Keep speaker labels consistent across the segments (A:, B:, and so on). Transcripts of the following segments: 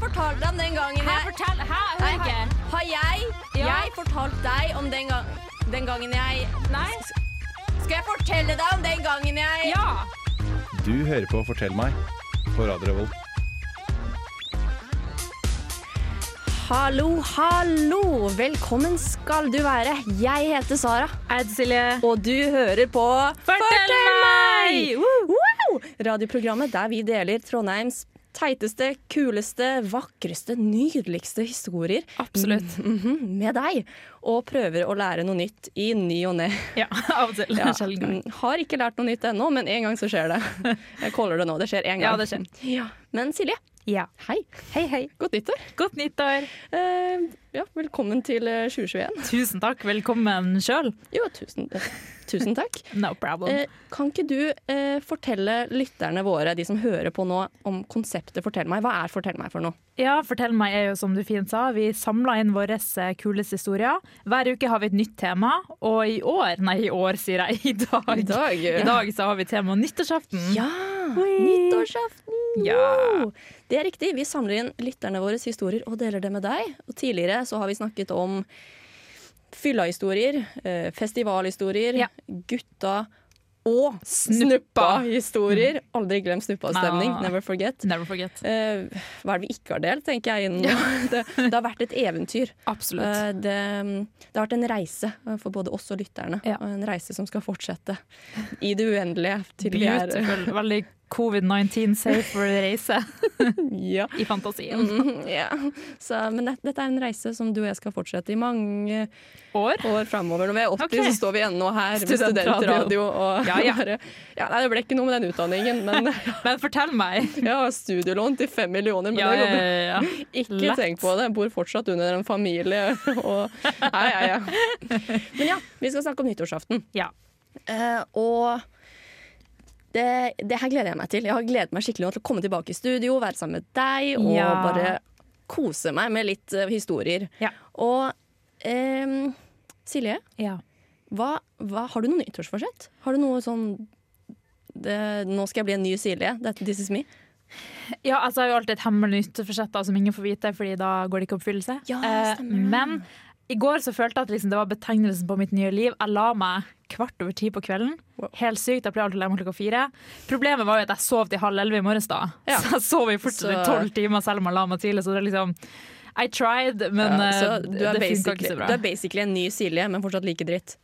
A: fortalt deg om den gangen
B: Hæ,
A: jeg
B: fortell! Hæ,
A: Nei, har,
B: hører ikke.
A: har jeg,
B: Ja.
A: jeg fortalt deg om den, gang, den gangen jeg
B: Nei?
A: Skal jeg fortelle deg om den gangen jeg
B: Ja!
C: Du hører på Fortell meg på Radio Revolt.
A: Hallo, hallo! Velkommen skal du være. Jeg heter Sara,
B: Jeg heter Silje.
A: og du hører på
B: Fortell meg!
A: Wow! Radioprogrammet der vi deler Trondheims teiteste, kuleste, vakreste, nydeligste historier
B: Ah. Absolutt.
A: mhm, med deg. Og prøver å lære noe nytt i ny og ne.
B: Ja, av og til.
A: Ja,
B: Sjelden gang.
A: mm, Har ikke lært noe nytt ennå, men en gang så skjer det. Jeg caller det nå. Det skjer en gang.
B: Ja, det skjer.
A: Ja. Men Silje,
B: Ja.
A: hei.
B: Hei, hei.
A: Godt nyttår.
B: Godt nyttår.
A: Eh, ja, velkommen til eh, 2021.
B: Tusen takk. Velkommen sjøl.
A: Jo, tusen, eh, tusen takk.
B: No problem.
A: Eh, kan ikke du eh, fortelle lytterne våre, de som hører på nå, om konseptet Fortell meg? Hva er Fortell meg for noe?
B: Ja, Fortell meg er jo som du fint sa, vi samla inn våre eh, kuleste historier. Hver uke har vi et nytt tema, og i år, nei i år sier jeg, i dag,
A: I dag, ja.
B: I dag så har vi tema nyttårsaften.
A: Ja!
B: Ui.
A: Nyttårsaften!
B: Mm. Ja.
A: Wow! Det er riktig. Vi samler inn lytterne våres historier og deler det med deg. Og tidligere så har vi snakket om fyllahistorier, eh, festivalhistorier,
B: Ja.
A: gutta og
B: Snuppa. Mm.
A: snuppa-historier. Aldri glem snuppa-stemning.
B: Ah.
A: Never forget.
B: Never forget.
A: Eh, hva er det vi ikke har delt, tenker jeg. Innen. Det, det har vært et eventyr.
B: Absolutt.
A: Eh, Det, det har vært en reise eh, for både oss og lytterne.
B: Ja.
A: Og en reise som skal fortsette i det uendelige. Til vi er
B: Beautiful. Veldig covid-19-safe reise
A: ja.
B: i fantasien.
A: ja. Så, men det, dette er en reise som du og jeg skal fortsette i mange
B: År.
A: år framover. Når vi er 80,
B: Ok.
A: så står vi ennå her med
B: Studentradio.
A: studentradio. Og
B: Ja, ja.
A: Bare, ja, nei, det ble ikke noe med den utdanningen, men
B: Men fortell meg.
A: jeg har studielån til fem millioner. Men det går bra.
B: ja, ja.
A: Ikke
B: Lett.
A: tenk på det. Jeg bor fortsatt under en familie. Og, ja, ja, ja. Men ja, vi skal snakke om nyttårsaften.
B: Ja.
A: Eh, og det, det her gleder jeg meg til. Jeg har gledet meg skikkelig nå til å komme tilbake i studio, være sammen med deg og
B: Ja.
A: bare kose meg med litt eh, historier.
B: Ja.
A: Og ehm, Silje,
B: ja.
A: hva, hva, har du noe nyttårsforsett? Har du noe sånn det, Nå skal jeg bli en ny Silje. That, this is me.
B: Ja, altså, jeg har jo alltid et hemmelig nyttårsforsett da, som ingen får vite, fordi da går det ikke i oppfyllelse. Eh,
A: Ja, stemmer det.
B: men i går så følte jeg at liksom, det var betegnelsen på mitt nye liv. Jeg la meg kvart over ti på kvelden.
A: Wow.
B: Helt sykt. Jeg pleier alltid å legge meg klokka fire. Problemet var jo at jeg sov til halv elleve i morges, da.
A: Ja.
B: Så jeg sov i fortsatt i
A: Så-
B: tolv timer selv om jeg la meg tidlig. Så det er liksom I tried, men
A: Ja, så
B: eh,
A: du er,
B: det funka
A: basically,
B: ikke så
A: du
B: bra.
A: er basically en ny Silje, men fortsatt like dritt.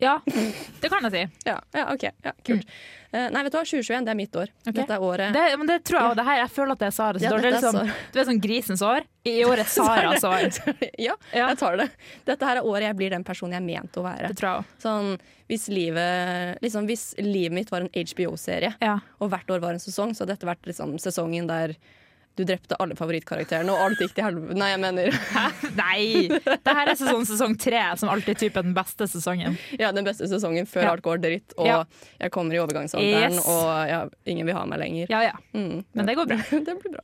B: Ja, det kan jeg si.
A: Ja, ja OK. Ja, kult. Eh, nei, vet du hva, 2021 det er mitt år.
B: Mm. Ok.
A: Dette er året
B: Det, men det tror jeg også. Det her, jeg føler at det er Saras
A: Ja,
B: år. Det er
A: dette er
B: liksom, du vet sånn grisens år? I år er Saras år.
A: ja,
B: Ja.
A: jeg tar det. Dette her er året jeg blir den personen jeg er ment å være.
B: Det tror jeg òg.
A: Sånn, hvis, livet, liksom, hvis livet mitt var en HBO-serie,
B: Ja.
A: og hvert år var en sesong, så hadde dette vært liksom, sesongen der du drepte alle favorittkarakterene, og alt gikk til helvete. Nei, jeg mener
B: Nei! Det her er sesong, sesong tre, som alltid typ er den beste sesongen.
A: ja, den beste sesongen før
B: Ja.
A: alt går dritt, og
B: Ja.
A: jeg kommer i overgangsalderen,
B: Yes.
A: og ja, ingen vil ha meg lenger.
B: Ja, ja.
A: Mm.
B: Men det går bra.
A: det blir bra.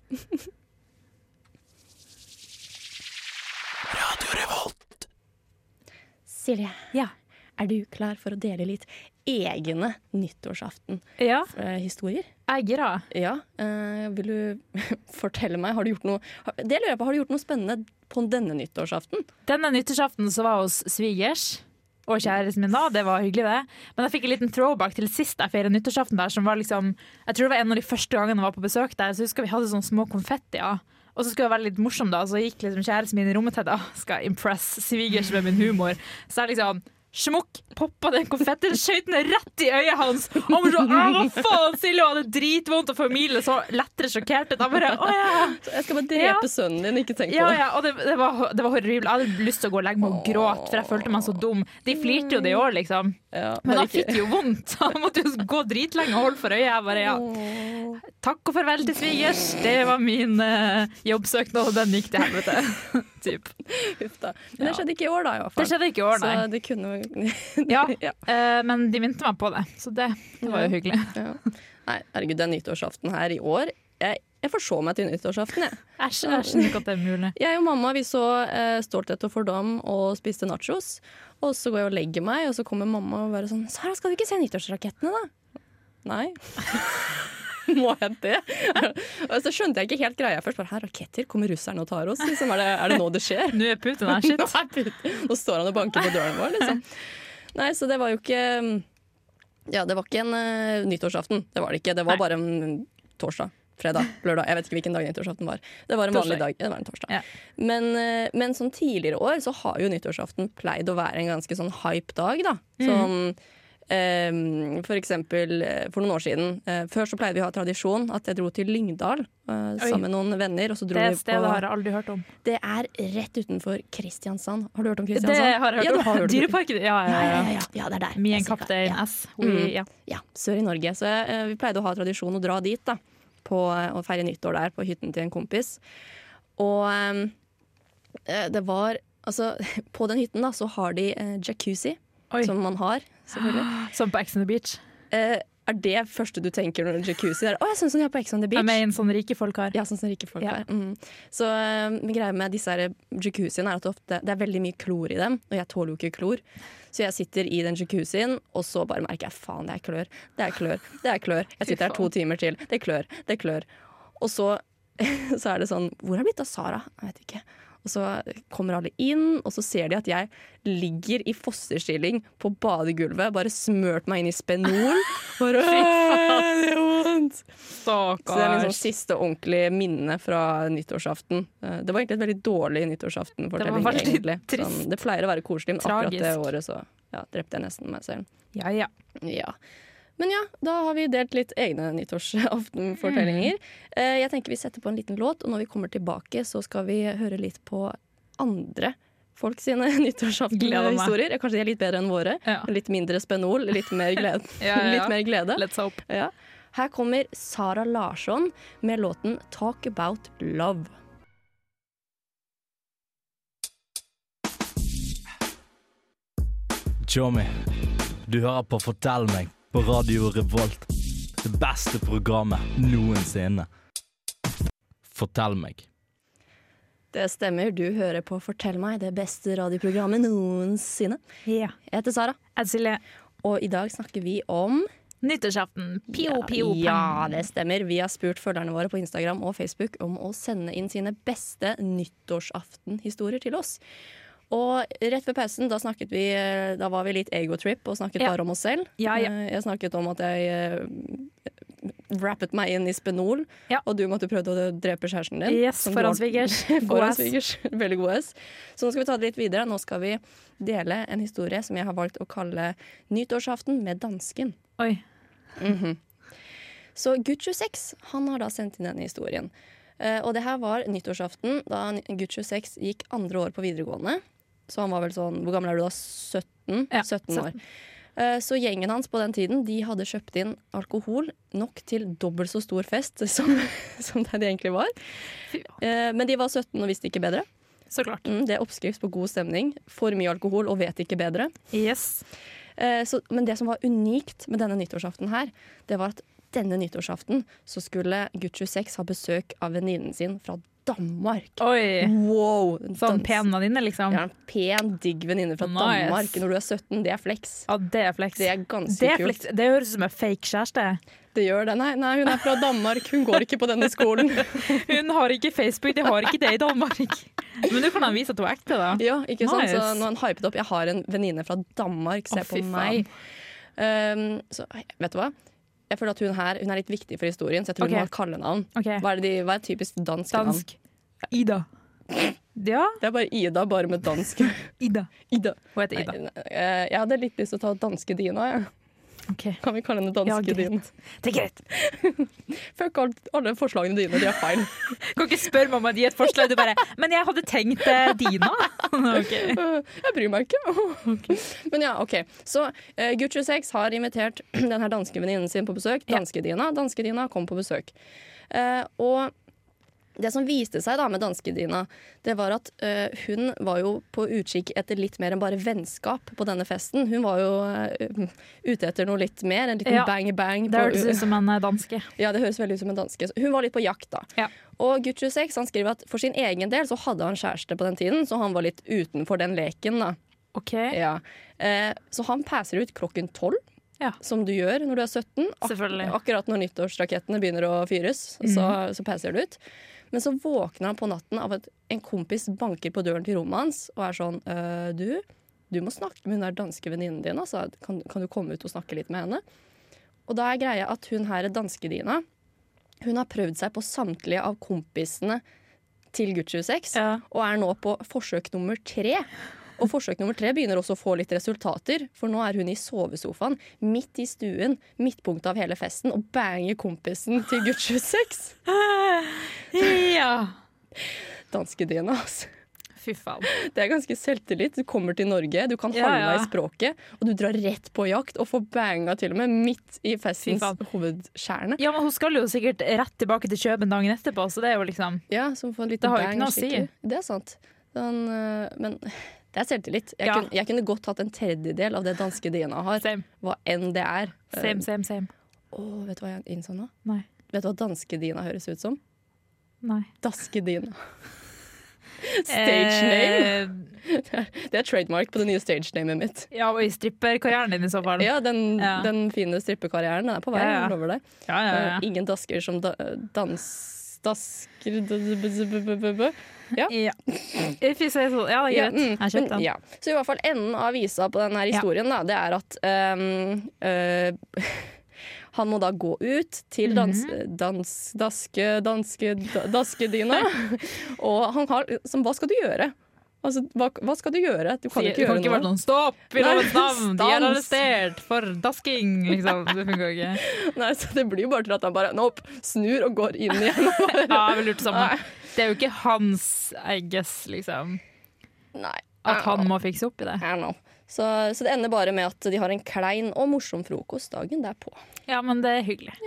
A: Silje,
B: Ja.
A: er du klar for å dele litt egne nyttårsaften-historier?
B: ja jeg er gira.
A: Ja. eh, vil du fortelle meg, har du gjort noe har- Det lurer jeg på, har du gjort noe spennende på denne nyttårsaften?
B: Denne nyttårsaften så var jeg hos svigers og kjæresten min da, det var hyggelig det. Men jeg fikk en liten throwback til sist jeg feiret nyttårsaften der, som var liksom Jeg tror det var en av de første gangene jeg var på besøk der, så husker jeg vi hadde sånne små konfettier. Og så skulle jeg være litt morsom, da, så gikk liksom kjæresten min i rommet til da, skal jeg impress svigers med min humor. Så jeg liksom Smukk! Poppa den konfettien, skjøt den rett i øyet hans! Og han var sånn, «Å, hva faen, Silje hadde dritvondt, og familien så lettere sjokkert ut. Jeg bare, å ja.
A: Så jeg skal bare drepe
B: Ja.
A: sønnen din, ikke tenk på
B: Ja,
A: det.
B: ja, og det, det, var, det var horribelt. Jeg hadde lyst til å gå og legge meg og gråte, for jeg følte meg så dum. De flirte jo det i år, liksom.
A: Ja,
B: Men
A: bare
B: han fikk
A: ikke-
B: jo vondt. Han måtte jo gå dritlenge og holde for øyet. Jeg bare, ja.
A: Åh.
B: Takk og farvel til svigers. Det var min eh, jobbsøknad, og den gikk til helvete. typ.
A: Huff da. Men det skjedde ikke i år, da, i hvert fall.
B: Det skjedde ikke i år, nei.
A: Så det kunne
B: Ja,
A: ja.
B: eh, men de minte meg på det, så det, det var jo hyggelig.
A: ja. Nei, herregud, den nyttårsaften her i år Jeg, jeg forså meg til nyttårsaften, jeg.
B: Jeg skj- jeg skjønner ikke at det er mulig.
A: Jeg og mamma vi så eh, Stolthet og fordom og spiste nachos. Og så går jeg og legger meg, og så kommer mamma og bare sånn 'Sara, skal du ikke se Nyttårsrakettene', da? Nei. Må jeg det? Og så skjønte jeg ikke helt greia først. Bare, her, raketter, kommer russerne og tar oss? Liksom, er, det, er det nå det skjer?
B: Nå er Putin her, shit.
A: Nå er Putin- Nå står han og banker på døren vår, liksom. Nei, så det var jo ikke Ja, det var ikke en eh, nyttårsaften. Det var det ikke. Det var
B: Nei.
A: bare en torsdag. Fredag, lørdag. Jeg vet ikke hvilken dag nyttårsaften var. Det var en vanlig dag. Det var en torsdag.
B: Ja.
A: Men, eh, men som tidligere år så har jo nyttårsaften pleid å være en ganske sånn hype dag, da.
B: Mm.
A: Som eh, for eksempel eh, for noen år siden. eh, før så pleide vi å ha tradisjon at jeg dro til Lyngdal eh,
B: Oi.
A: sammen med noen venner. Og så dro
B: Det
A: vi
B: stedet
A: på
B: har jeg aldri hørt om.
A: det er rett utenfor Kristiansand. Har du hørt om
B: Det
A: Kristiansand?
B: sånn? har jeg
A: ja, du
B: hørt
A: har
B: om.
A: hørt om.
B: Dyreparken.
A: Ja,
B: Ja, ja,
A: ja,
B: ja.
A: ja, ja, det er der.
B: Me and
A: Jeg sier det.
B: Captain
A: Ja,
B: S. We, ja. Mm.
A: ja, sør i Norge. Så jeg, eh, vi pleide å ha tradisjon å dra dit, da. På, å feire nyttår der på hytten til en kompis. Og eh, det var Altså, på den hytten da, så har de eh, jacuzzi,
B: Oi.
A: som man har, selvfølgelig.
B: Som på Ex on the Beach.
A: Eh, er det første du tenker når det er jacuzzi? Er, Å, jeg syns hun er på Ex on the
B: Jeg
A: Beach.
B: mener sånne rike folk har.
A: Ja, sånn som rike folk
B: Ja.
A: er. Mm. Så eh, greia med disse her jacuzziene er at det ofte, det er veldig mye klor i dem, og jeg tåler jo ikke klor. Så jeg sitter i den jacuzzien, og så bare merker jeg faen, det er klør, det er klør, det er klør. Jeg sitter her to timer til, det klør, det klør. Og så, så er det sånn, hvor er det blitt av Sara? Jeg vet ikke. Og så kommer alle inn, og så ser de at jeg ligger i fosterstilling på badegulvet, bare smørt meg inn i spenol. Bare, «Åh, det gjør vondt! Så det er liksom
B: Stakkars.
A: siste ordentlige minne fra nyttårsaften. Eh, Det var egentlig et veldig dårlig nyttårsaften-fortelling.
B: Det var veldig
A: egentlig.
B: trist.
A: Sånn, det pleier å være koselig, men akkurat det
B: Tragisk.
A: året så ja, drepte jeg nesten meg selv.
B: Ja, ja.
A: Ja. Men ja, da har vi delt litt egne nyttårsaften-fortellinger.
B: Mm.
A: Eh, Jeg tenker vi setter på en liten låt, og når vi kommer tilbake så skal vi høre litt på andre folk sine
B: Gleder meg.
A: nyttårsaften-historier. Ja, Kanskje de er litt bedre enn våre.
B: Ja.
A: Litt mindre spenol, litt mer glede.
B: Ja, ja, ja.
A: Litt mer glede.
B: Let's hope.
A: Ja. Her kommer Sara Larsson med låten 'Talk About Love'.
D: Tjommi, du hører på Fortell meg på Radio Revolt. Det beste programmet noensinne. Fortell meg.
A: Det stemmer, du hører på Fortell meg, det beste radioprogrammet noensinne.
B: Ja.
A: Jeg heter Sara,
B: Ed Eh, Silje.
A: og i dag snakker vi om
B: Nyttårsaften. Pio, pio,
A: Ja,
B: pang.
A: det stemmer. Vi har spurt følgerne våre på Instagram og Facebook om å sende inn sine beste nyttårsaften-historier til oss. Og rett ved pausen, da, snakket vi, da var vi litt egotrip og snakket
B: Ja.
A: bare om oss selv.
B: Ja, ja.
A: Eh, Jeg snakket om at jeg eh, wrappet meg inn i spenol,
B: Ja.
A: og du måtte prøve å drepe kjæresten din.
B: Yes,
A: som
B: foran
A: du har-
B: svigers. God
A: foran
B: ass.
A: svigers. Veldig god ass. Så nå skal vi ta det litt videre. Nå skal vi dele en historie som jeg har valgt å kalle 'Nyttårsaften med dansken'.
B: Oi.
A: Så Gutt26 han har da sendt inn denne historien. Eh, og det her var nyttårsaften, da Gutt26 gikk andre år på videregående. Så han var vel sånn Hvor gammel er du da? 17?
B: Ja,
A: 17 år. Eh, Så gjengen hans på den tiden De hadde kjøpt inn alkohol nok til dobbelt så stor fest som, som det det egentlig var.
B: Fy,
A: Eh, Men de var 17 og visste ikke bedre.
B: Så klart.
A: Mm, Det er oppskrift på god stemning. For mye alkohol og vet ikke bedre.
B: Yes.
A: Eh, så, men det som var unikt med denne nyttårsaften her, det var at denne nyttårsaften så skulle Gucci 6 ha besøk av venninnen sin fra Danmark.
B: Oi.
A: Wow!
B: Sånn
A: dans-
B: pen av dine, liksom.
A: Ja, en pen, digg venninne fra
B: Nice.
A: Danmark når du er 17. Det er flex.
B: Ja, det er flex.
A: Det er ganske
B: Det er
A: kult.
B: flex. Det høres ut som en fake kjæreste.
A: Det gjør det. Nei, nei, hun er fra Danmark. Hun går ikke på denne skolen.
B: Hun har ikke Facebook, de har ikke det i Danmark. Men nå kan han vise at hun er ekte, da.
A: Ja, ikke sant? Så
B: Nice.
A: nå har han hypet opp. Jeg har en venninne fra Danmark, se
B: Å,
A: på
B: fy faen.
A: meg. Um, så, vet du hva? Jeg føler at hun her hun er litt viktig for historien, så jeg tror
B: Ok.
A: hun har kallenavn.
B: Ok.
A: Hva er, det de, hva er et typisk dansk, navn?
B: Dansk. Ida. Ja,
A: Det er bare Ida, bare med dansk.
B: Ida.
A: Ida.
B: Hun heter Ida.
A: Nei, eh, jeg hadde litt lyst til å ta danske Dina. Jeg.
B: Ok.
A: Kan vi kalle henne
B: Ja,
A: danske
B: greit.
A: Din?
B: Det er greit.
A: Fuck alt, alle forslagene dine, de er feil.
B: Du kan ikke spørre mamma di et forslag, du bare Men jeg hadde tenkt eh, Dina. Ok.
A: Eh, jeg bryr meg ikke. Men ja, OK. Så uh, Gucci 6 har invitert den her danske venninnen sin på besøk.
B: Ja.
A: Danske Dina. Danske Dina kom på besøk. Eh, og det som viste seg da med danske Dina, det var at eh, hun var jo på utkikk etter litt mer enn bare vennskap på denne festen. Hun var jo eh, ute etter noe litt mer. En liten
B: Ja.
A: bang-bang.
B: Det hørtes ut som en eh, danske.
A: Ja, det høres veldig ut som en danske. Så Hun var litt på jakt, da.
B: Ja.
A: Og Gucci 6 han skriver at for sin egen del så hadde han kjæreste på den tiden, så han var litt utenfor den leken, da.
B: OK.
A: Ja. Eh, så han passer ut klokken tolv.
B: Ja.
A: som du gjør når du er 17. Ak
B: Selvfølgelig. Mhm.
A: akkurat når nyttårsrakettene begynner å fyres, så, så passer det ut. Men så våkner han på natten av at en kompis banker på døren til rommet hans og er sånn «Øh, Du, du må snakke med hun der danske venninnen din. Altså. Kan, kan du komme ut og snakke litt med henne? Og da er greia at hun her danskedina Hun har prøvd seg på samtlige av kompisene til Gucci-sex
B: Ja.
A: og er nå på forsøk nummer tre. Og forsøk nummer tre begynner også å få litt resultater, for nå er hun i sovesofaen, midt i stuen, midtpunktet av hele festen, og banger kompisen til Guds 26.
B: ja.
A: Danskedina, altså.
B: Fy faen.
A: Det er ganske selvtillit. Du kommer til Norge, du kan
B: Ja,
A: handle
B: ja.
A: i språket, og du drar rett på jakt og får banga til og med midt i festens
B: faen.
A: hovedskjerne.
B: Ja, men hun skal jo sikkert rett tilbake til Kjøben dagen etterpå, så det er jo liksom
A: Ja, som får en
B: Det
A: liten
B: har jo ikke
A: bang.
B: noe å si.
A: skikkelig. Det er sant. Den, øh, men det er selvtillit. Jeg,
B: Ja.
A: kunne, jeg kunne godt hatt en tredjedel av det danske Dina har.
B: Same,
A: hva enn det er.
B: same, same. same.
A: Åh, vet du hva jeg innså nå?
B: Nei.
A: Vet du hva danskedina høres ut som?
B: Nei.
A: Daskedina. Stage name. Det er trademark på det nye stage namet mitt.
B: Eh, ja, og i stripperkarrieren din i så fall.
A: Ja, den,
B: Ja.
A: den fine strippekarrieren den er på vei.
B: Ja, ja.
A: jeg lover det.
B: ja, ja. ja.
A: Eh, Ingen dasker som da, eh, dans... Dasker d- d- b- b- b- b- b-
B: Ja. If you say so. Ja, det
A: Ja,
B: er greit.
A: mm,
B: Jeg
A: men
B: kjøpte den.
A: ja. Så i hvert fall enden av visa på denne
B: Ja.
A: historien da, det er at ehm, eh, han må da gå ut til dans,
B: Mhm.
A: dans, danske, danske, da- daskedina. og han har som, Hva skal du gjøre? Altså, hva, hva skal du gjøre? Du kan jo ikke
B: Det kan
A: gjøre
B: ikke være
A: noe.
B: sånn stopp! Vi
A: Nei,
B: lovens navn! De er
A: stans.
B: arrestert for dasking! Liksom. Det funker jo ikke.
A: Nei, så det blir jo bare til at han bare nope, snur og går inn igjen.
B: Ja, jeg vil lurt sammen.
A: Nei.
B: Det er jo ikke hans, I guess, liksom.
A: Nei,
B: At han må fikse opp i det.
A: I don't know. Så, så det ender bare med at de har en klein og morsom frokost dagen derpå.
B: Ja, men det er hyggelig.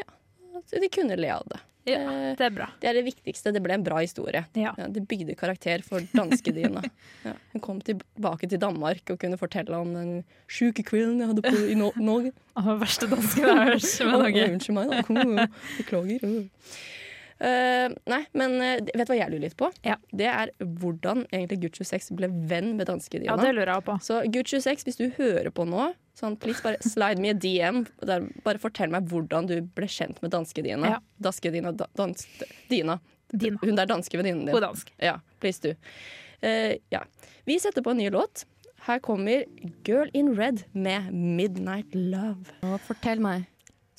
A: Så de kunne le av det. Eh,
B: Ja, det er bra.
A: Det er det viktigste. Det ble en bra historie.
B: Ja.
A: Ja, det bygde karakter for danskedina. Ja. Hun kom tilbake til Danmark og kunne fortelle om den sjuke kvelden jeg hadde på i Nor- Norge.
B: Å, verste dansken jeg har hørt.
A: Å,
B: Men ok.
A: Unnskyld meg, da. Kom, å, Beklager. å. Eh, nei, men eh, vet du hva jeg lurer litt på?
B: Ja.
A: Det er hvordan egentlig Gucci 6 ble venn med
B: Ja,
A: danskedina.
B: det lurer jeg på.
A: Så Gucci 6, hvis du hører på nå, sånn, please bare slide me a DM. Der, bare fortell meg hvordan du ble kjent med danskedina.
B: Ja.
A: Daskedina, da, dans, Dina.
B: Dina.
A: Hun der danske venninnen din.
B: God dansk.
A: Ja, please do. Eh, ja. Vi setter på en ny låt. Her kommer Girl in Red med Midnight Love. Og fortell meg.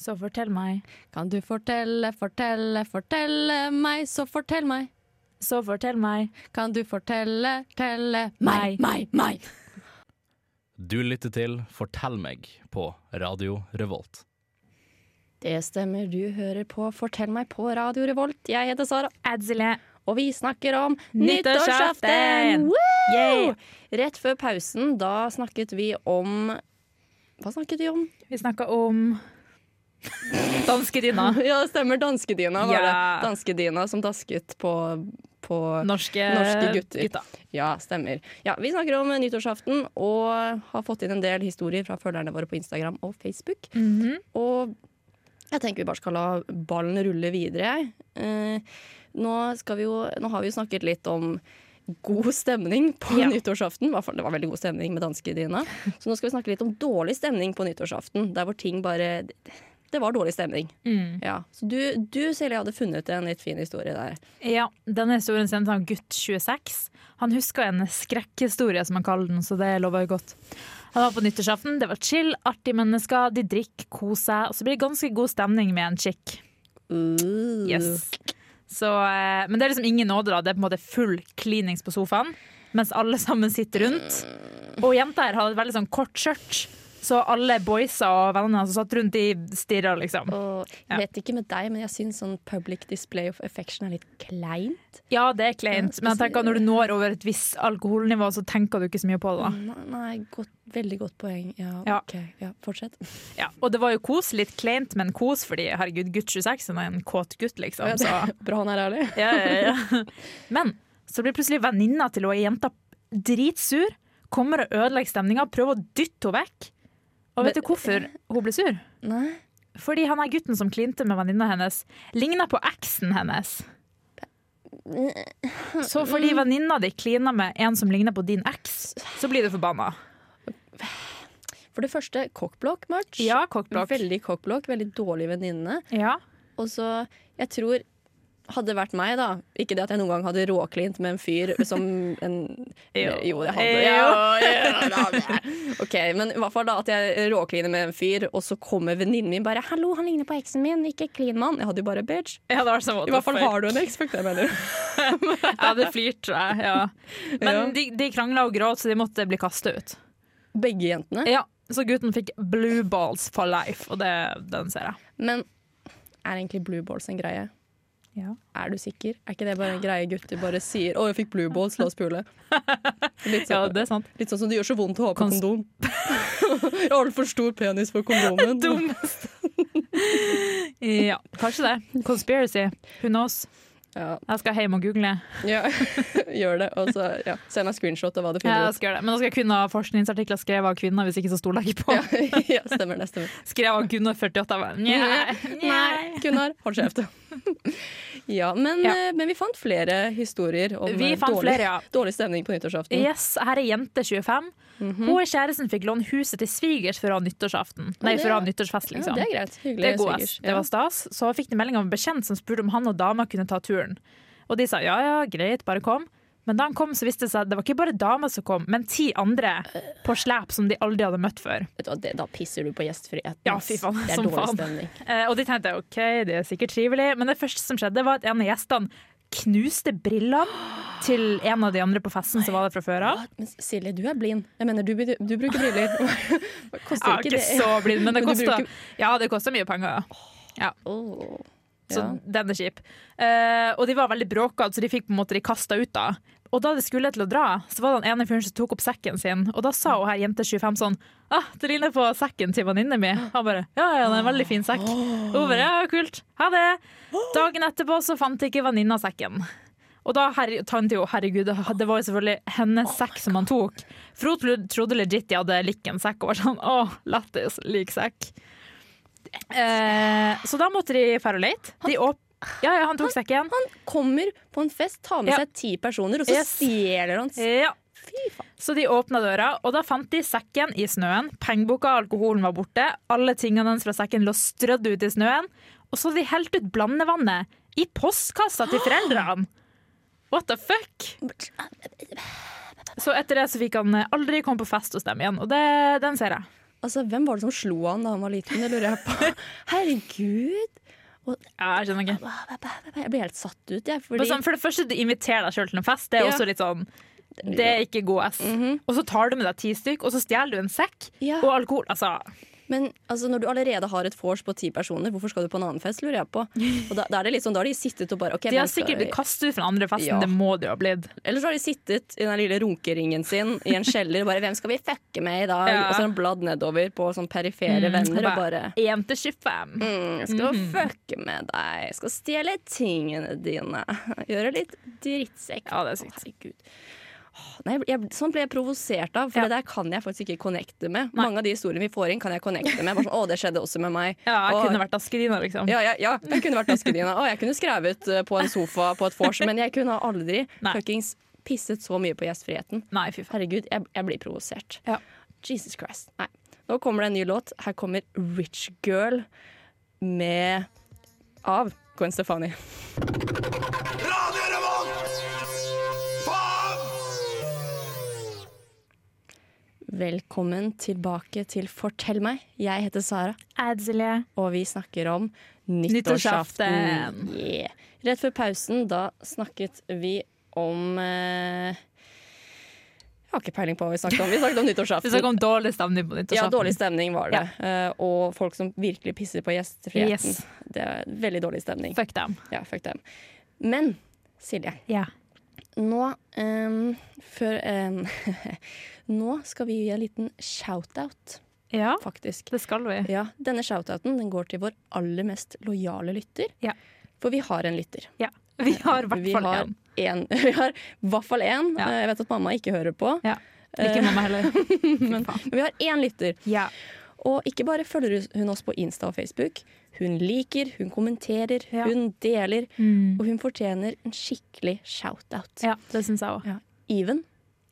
B: Så fortell meg,
A: Kan du fortelle, fortelle, fortelle meg, så fortell meg.
B: så fortell meg.
A: Kan du fortelle, telle
B: meg,
A: meg, meg.
D: Du lytter til Fortell meg på Radio Revolt.
A: Det stemmer, du hører på Fortell meg på Radio Revolt. Jeg heter Sara,
B: Adzile.
A: og vi snakker om
B: Nyttårsaften!
A: nyttårsaften! Woo!
B: Yay!
A: Rett før pausen, da snakket vi om Hva snakket vi om?
B: Vi snakka om danskedina.
A: Ja, det stemmer. Danskedina var
B: Ja.
A: det. Danskedina som dasket på, på
B: Norske,
A: Norske gutter.
B: gutta.
A: Ja, stemmer. Ja, vi snakker om nyttårsaften og har fått inn en del historier fra følgerne våre på Instagram og Facebook.
B: Mhm.
A: Og jeg tenker vi bare skal la ballen rulle videre, jeg. Eh, nå, skal vi jo, nå har vi jo snakket litt om god stemning på
B: Ja.
A: nyttårsaften. I hvert fall, Det var veldig god stemning med danskedina. Så nå skal vi snakke litt om dårlig stemning på nyttårsaften. Der hvor ting bare Det var dårlig stemning.
B: Mm.
A: Ja, så du, du Silje, hadde funnet en litt fin historie der.
B: Ja, denne historien sendte han gutt 26. Han husker en skrekkhistorie, som han kaller den, så det lover jo godt. Han var på nyttårsaften, det var chill, artige mennesker, de drikker, koser seg, og så blir det ganske god stemning med en chick. Yes. Så, eh, men det er liksom ingen nåde, da. Det er på en måte full klinings på sofaen, mens alle sammen sitter rundt. Og jenta her hadde et veldig sånn kort skjørt, så alle boysa og vennene hans som satt rundt, de stirra, liksom.
A: Og
B: Ja.
A: jeg vet ikke med deg, men jeg syns sånn public display of affection er litt kleint.
B: Ja, det er kleint, men jeg tenker at når du når over et visst alkoholnivå, så tenker du ikke så mye på det. da.
A: Nei, nei godt, veldig godt poeng. Ja,
B: Ah. Ja.
A: ok. Ja, fortsett.
B: Ja, og det var jo kos, litt kleint, men kos fordi herregud, gutt 26 han er en kåt gutt, liksom. Så.
A: Bra han er ærlig.
B: Ja, ja, ja. Men så blir plutselig venninna til hun jenta dritsur, kommer og ødelegger stemninga, prøver å dytte henne vekk. Og vet du hvorfor hun ble sur?
A: Nei.
B: Fordi han er gutten som klinte med venninna hennes, ligna på eksen hennes. Så
A: Mm.
B: fordi venninna di klina med en som ligner på din eks, så blir du forbanna.
A: For det første cockblock-merch.
B: Ja, cockblock.
A: Veldig cockblock, veldig dårlig venninne.
B: Ja.
A: Og så, jeg tror Hadde det vært meg, da Ikke det at jeg noen gang hadde råklint med en fyr som en Jo, det hadde
B: Eh,
A: jeg. OK, men i hvert fall da at jeg råkliner med en fyr, og så kommer venninnen min bare 'Hallo, han ligner på eksen min, ikke klin med han'. Jeg hadde jo bare bitch.
B: Jeg hadde vært sånn what
A: I
B: the
A: hvert fall
B: fuck.
A: har du en eks, fuck det, mener du.
B: Jeg hadde flirt, tror jeg. Ja. Men
A: Ja.
B: de, de krangla og gråt, så de måtte bli kasta ut.
A: Begge jentene.
B: Ja, Så gutten fikk blue balls for life, og det, den ser jeg.
A: Men er egentlig blue balls en greie?
B: Ja.
A: Er du sikker? Er ikke det bare en greie gutter bare sier 'Å, jeg fikk blue balls, la oss pule'? Litt sånn,
B: det er sant.
A: litt sånn som det gjør så vondt å ha på
B: Kons-
A: kondom. jeg har altfor stor penis for kondomen.
B: Dummest. ja, kanskje det. Conspiracy. Who knows?
A: Ja,
B: Jeg skal hjem og google.
A: ja. gjør det. Og så ja. send meg screenshot av hva du
B: Ja,
A: finner
B: jeg
A: ut.
B: skal gjøre det. Men nå skal jeg kun ha forskningsartikler skrevet av kvinner, hvis ikke så stoler jeg ikke på.
A: Ja, ja, stemmer det. stemmer
B: Skrevet av Gunnar 48. Jeg bare, Nei.
A: Nei, Gunnar, hold kjeft. Ja, men,
B: Ja.
A: eh, men vi fant flere historier om
B: Vi
A: eh,
B: fant
A: dårlig,
B: flere, ja.
A: dårlig stemning på nyttårsaften.
B: Yes, her er jente 25.
A: Mhm.
B: Hun og kjæresten fikk låne huset til svigers før av nyttårsaften. Nei,
A: det-
B: før av nyttårsfest, liksom.
A: Ja, det er greit. Hyggelig.
B: Det er god
A: svigers.
B: ass. Det var stas. Så fikk de melding av en bekjent som spurte om han og dama kunne ta turen. Og de sa ja ja, greit, bare kom. Men da han kom, så viste det seg at det var ikke bare dama som kom, men ti andre på slep som de aldri hadde møtt før.
A: Vet du hva, det, da pisser du på gjestfriheten.
B: Ja,
A: ass.
B: fy faen,
A: det er
B: som
A: dårlig
B: faen.
A: stemning.
B: Eh, og de tenkte OK, det er sikkert trivelig, men det første som skjedde, var at en av gjestene knuste brillene til en av de andre på festen som var der fra før av.
A: Men Silje, du er blind. Jeg mener, du, du bruker briller. Hva Koster
B: Ja,
A: ikke
B: ikke
A: det?
B: så blind, men det
A: Men du
B: koster
A: bruker-
B: Ja, det koster mye penger, ja.
A: Åh.
B: Så
A: Ja.
B: den er kjip. Eh, og de var veldig bråkete, så de fikk på en måte de kasta ut da. Og da de skulle til å dra, så var det den ene fyren som tok opp sekken sin. Og da sa hun her jente 25 sånn ah, 'Det ligner på sekken til venninnen min.' Han bare 'Ja, ja, det er en veldig fin sekk'. Og hun bare 'Ja, kult. Ha det'. Dagen etterpå så fant ikke venninna sekken. Og da her, tenkte jo, herregud, det var jo selvfølgelig hennes sekk som han tok. For hun tro- trodde legit de hadde likt en sekk, og var sånn 'Å, lættis, lik sekk'. Eh, så da måtte de dra og lete. De opp ja, ja, han tok sekken.
A: Han kommer på en fest, tar med
B: Ja.
A: seg ti personer, og så
B: Yes.
A: stjeler han. s-
B: Ja.
A: Fy faen.
B: Så de åpna døra, og da fant de sekken i snøen. Pengeboka og alkoholen var borte. Alle tingene hans fra sekken lå strødd ut i snøen. Og så hadde de helt ut blandevannet i postkassa til foreldrene! What the fuck? Så etter det så fikk han eh, aldri komme på fest hos dem igjen, og det, den ser jeg.
A: Altså, hvem var det som slo han da han var liten? Det lurer jeg på. Herregud.
B: Ja, jeg skjønner ikke.
A: Jeg blir helt satt ut, jeg. Fordi
B: Men sånn, for det første, du inviterer deg sjøl til en fest. Det er
A: Ja. Mhm.
B: også litt sånn Det er ikke god ass. Og så tar du med deg ti stykk, og så stjeler du en sekk
A: Ja.
B: og alkohol. Altså,
A: Men altså, når du allerede har et vors på ti personer, hvorfor skal du på en annen fest, lurer jeg på. Og da, da, er det litt sånn, da har de sittet og bare ok,
B: De har
A: hvem skal
B: sikkert
A: vi-
B: blitt kastet ut fra den andre
A: Ja.
B: festen, det må de ha blitt.
A: Eller så har de sittet i den lille runkeringen sin i en kjeller og bare 'Hvem skal vi fucke med i dag?'
B: Ja. Mm.
A: Og så har de bladd nedover på sånn perifere venner og bare
B: Jente 25.
A: mm, 'Jeg skal
B: Mhm.
A: fucke med deg. Jeg skal stjele tingene dine. Gjøre litt drittsekk.'
B: Ja, det er sykt.
A: Å, herregud. Åh, Nei, jeg, jeg, sånn ble jeg provosert av, for
B: Ja.
A: det der kan jeg faktisk ikke connecte med.
B: Nei.
A: Mange av de historiene vi får inn, kan jeg connecte med. Bare sånn, 'Å, det skjedde også med meg'.
B: Ja,
A: Å,
B: jeg kunne vært Askerina, liksom.
A: ja, ja, ja, jeg kunne vært Askedina. Og jeg kunne skrevet eh, på en sofa på et vors, men jeg kunne aldri
B: Nei.
A: fuckings pisset så mye på gjestfriheten.
B: Nei, fy faen.
A: Herregud, jeg, jeg blir provosert.
B: Ja.
A: Jesus Christ. Nei. Nå kommer det en ny låt. Her kommer Rich Girl med Av Gwen Stefani.
E: Radio Revolt! Faen!
A: Velkommen tilbake til Fortell meg. Jeg heter Sara,
B: Adselie.
A: og vi snakker om nyttårsaften.
B: Nyttårsaften.
A: Yeah. Rett før pausen, da snakket vi om eh, Jeg har ikke peiling på hva vi snakket om. Vi snakket om
B: Vi
A: nyttårsaften.
B: snakker om dårlig stemning på nyttårsaften.
A: Ja, dårlig stemning var det. Eh, og folk som virkelig pisser på gjestfriheten.
B: Yes.
A: Det er veldig dårlig stemning.
B: Fuck dem.
A: Ja, fuck dem. Men Silje,
B: Ja.
A: nå ehm, Før ehm, Nå skal vi gi en liten shout-out,
B: ja,
A: faktisk.
B: det skal vi.
A: Ja, Denne shout-outen den går til vår aller mest lojale lytter.
B: Ja.
A: For vi har en lytter.
B: Ja. Vi har i hvert
A: Vi
B: fall
A: har
B: én.
A: en- Vi har i hvert fall én.
B: Ja.
A: Eh, Jeg vet at mamma ikke hører på.
B: Ja.
A: Eh.
B: Ikke mamma heller. Men,
A: Men vi har én lytter.
B: ja.
A: Og ikke bare følger hun oss på Insta og Facebook. Hun liker, hun kommenterer,
B: Ja.
A: hun deler.
B: Mm.
A: Og hun fortjener en skikkelig shout-out.
B: ja, det syns jeg òg.
A: Even,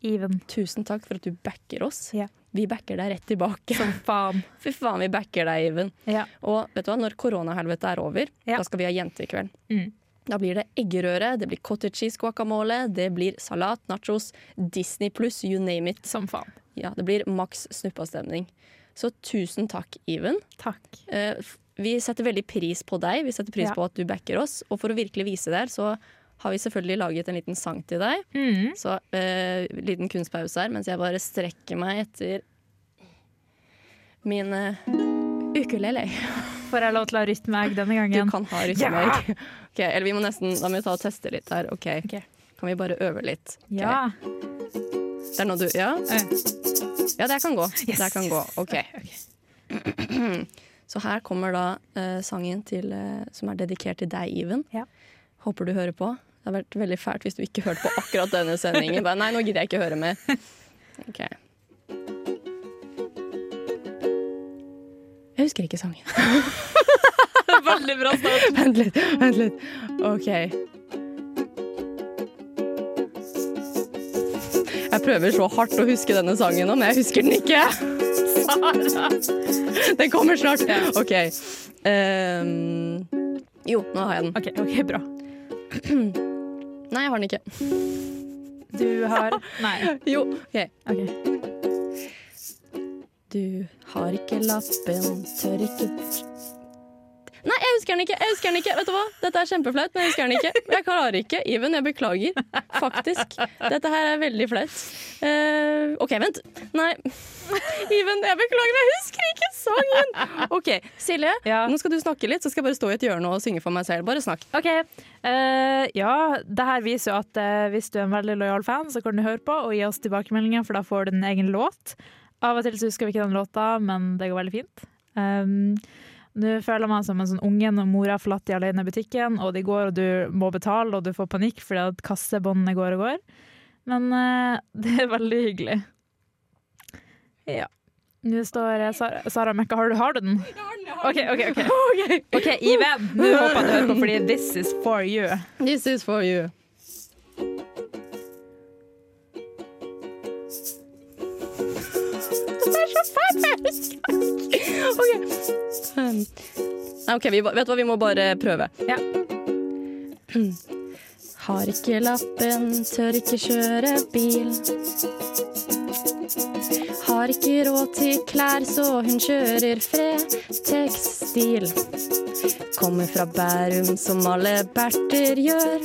B: Even.
A: tusen takk for at du backer oss.
B: Ja.
A: Vi backer deg rett tilbake.
B: Som faen.
A: Fy faen, vi backer deg, Even.
B: Ja.
A: Og vet du hva, når koronahelvetet er over,
B: Ja.
A: da skal vi ha jentekveld.
B: Mm.
A: Da blir det eggerøre, det blir cottage cheese guacamole, det blir salat, nachos, Disney pluss, you name it.
B: Som faen.
A: Ja, det blir maks snuppastemning. Så tusen takk, Even.
B: Takk.
A: Eh, f- Vi setter veldig pris på deg, vi setter pris
B: Ja.
A: på at du backer oss. Og for å virkelig vise det her, så har vi selvfølgelig laget en liten sang til deg.
B: Mm.
A: Så eh, liten kunstpause her, mens jeg bare strekker meg etter min eh, ukulele.
B: Får jeg lov til å ha rytmeegg denne gangen?
A: Du kan ha rytmeegg. Ok, eller vi må nesten Da må vi ta og teste litt her. OK.
B: Ok.
A: Kan vi bare øve litt? Ok.
B: Ja.
A: Det er noe du Ja,
B: Eh,
A: ja det her kan gå.
B: Yes,
A: det her kan
B: yes.
A: gå. OK.
B: ok.
A: Så her kommer da eh, sangen til, eh, som er dedikert til deg, Iven.
B: Ja.
A: Håper du hører på. Det hadde vært veldig fælt hvis du ikke hørte på akkurat denne sendingen. Bare, nei, nå gidder jeg ikke høre mer. Ok. Jeg husker ikke sangen.
B: Veldig bra start.
A: Vent litt, vent litt. OK. Jeg prøver så hardt å huske denne sangen nå, men jeg husker den ikke. Den kommer snart. OK. Ehm, jo, nå har jeg den.
B: Ok, ok, bra.
A: Nei, jeg har den ikke.
B: Du har Nei.
A: Jo, OK.
B: ok.
A: Du har ikke lappen, tør ikke Nei, jeg husker den ikke! jeg husker den ikke Vet du hva? Dette er kjempeflaut, men jeg husker den ikke. Jeg klarer ikke. Even, jeg beklager. Faktisk. Dette her er veldig flaut. Eh, OK, vent. Nei. Even, jeg beklager, jeg husker ikke sangen! OK, Silje,
B: Ja.
A: nå skal du snakke litt, så skal jeg bare stå i et hjørne og synge for meg selv. Bare snakk.
B: Ok, eh, ja, det her viser jo at eh, hvis du er en veldig lojal fan, så kan du høre på og gi oss tilbakemeldinger, for da får du en egen låt. Av og til så husker vi ikke den låta, men det går veldig fint. Um, Nå føler jeg meg som en sånn unge når mora har forlatt de alene i butikken, og de går og du må betale, og du får panikk fordi at kassebåndene går og går. Men eh, det er veldig hyggelig. Ja. Nå står eh, Sara, Sara Mekka, har du, har du den? OK, OK. ok. Ok, Iven, nå håper jeg du hører på, fordi this is for you.
A: This is for you. Det er så fælt, jeg husker OK. Um, nei, ok, vi, ba- vet du hva, vi må bare prøve.
B: Ja.
A: Har ikke lappen, tør ikke kjøre bil. Har ikke råd til klær, så hun kjører Fretex-stil. Kommer fra Bærum, som alle berter gjør.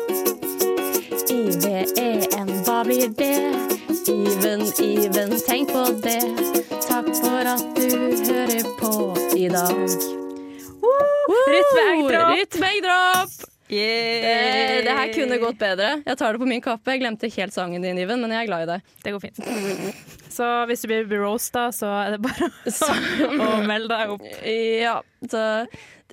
A: I-V-E-N, E hva blir det? Even, even, tenk på det. Takk for at du hører på i dag.
B: Rytmeeggdrop!
A: Rytmeeggdrop!
B: Yeah.
A: Det, det her kunne gått bedre. Jeg tar det på min kappe. Jeg glemte helt sangen din, Even, men jeg er glad i deg.
B: Det går fint. Så hvis du blir roasta, så er det bare å melde deg opp.
A: Ja, så,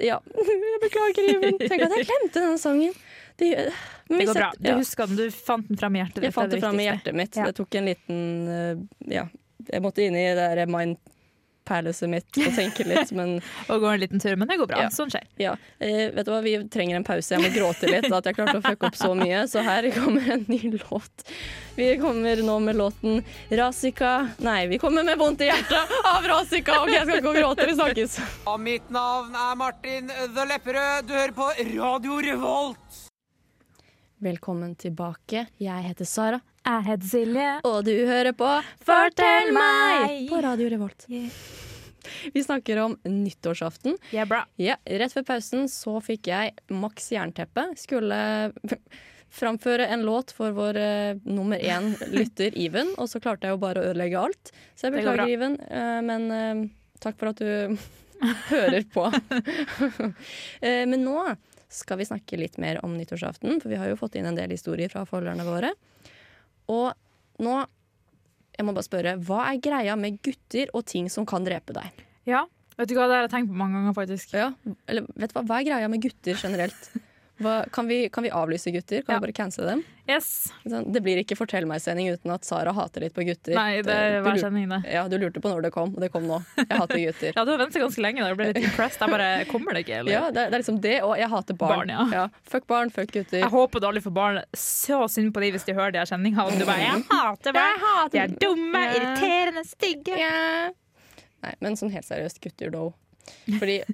A: ja. Jeg beklager, Even. Tenk at jeg glemte den sangen. Det, gjør- men vi
B: Det går bra.
A: setter-
B: Du
A: ja.
B: husker den, du fant den fram i hjertet ditt.
A: Jeg fant det fram i
B: viktigste.
A: hjertet mitt.
B: Ja.
A: Det tok en liten eh, Ja, jeg måtte inn i det der mind palacet mitt og tenke litt, men
B: Og gå en liten tur, men det går bra.
A: Ja.
B: Sånn skjer.
A: ja. Eh, vet du hva, vi trenger en pause. Jeg må gråte litt at jeg klarte å fucke opp så mye, så her kommer en ny låt. Vi kommer nå med låten 'Rasika' Nei, vi kommer med 'Vondt i hjertet' av Rasika. OK, jeg skal ikke gråte. Vi snakkes.
F: Og mitt navn er Martin The Lepperød. Du hører på Radio Revolt.
A: Velkommen tilbake. Jeg heter Sara,
B: Jeg heter Silje.
A: og du hører på
B: Fortell meg!
A: på Radio Revolt.
B: Yeah.
A: Vi snakker om nyttårsaften.
B: Ja, bra.
A: Ja, rett før pausen så fikk jeg maks jernteppe. Skulle framføre en låt for vår eh, nummer én lytter, Iven, og så klarte jeg jo bare å ødelegge alt. Så jeg
B: Det går bra.
A: beklager, Iven, eh, men eh, takk for at du hører på. Eh, men nå skal vi snakke litt mer om nyttårsaften, for vi har jo fått inn en del historier fra forholderne våre. Og nå Jeg må bare spørre, Hva er greia med gutter og ting som kan drepe deg?
B: Ja. Vet du hva, Det har jeg tenkt på mange ganger, faktisk.
A: Ja, eller vet du hva, hva er greia med gutter generelt? Hva, kan, vi, kan vi avlyse gutter? Kan
B: Ja.
A: vi bare cancele dem?
B: Yes.
A: Sånn, Det blir ikke Fortell meg-sending uten at Sara hater litt på gutter.
B: Nei, det
A: Du
B: sånn- er hver
A: lur-
B: sending, det.
A: Ja, Du lurte på når det kom, og det kom nå. Jeg hater gutter.
B: Ja, du har ventet ganske lenge. da, Jeg ble litt impressed. Jeg bare, Kommer det ikke, eller?
A: Ja, det, er- det er liksom det, og jeg hater barn.
B: Barn, ja.
A: Fuck barn, fuck gutter.
B: Jeg håper dårlig for barn. Så synd på de hvis de hører de her sendinga. Og du bare 'Jeg hater barn'. De er dumme,
A: Ja.
B: irriterende, stygge.
A: Ja. Nei, men sånn helt seriøst, gutter do. Fordi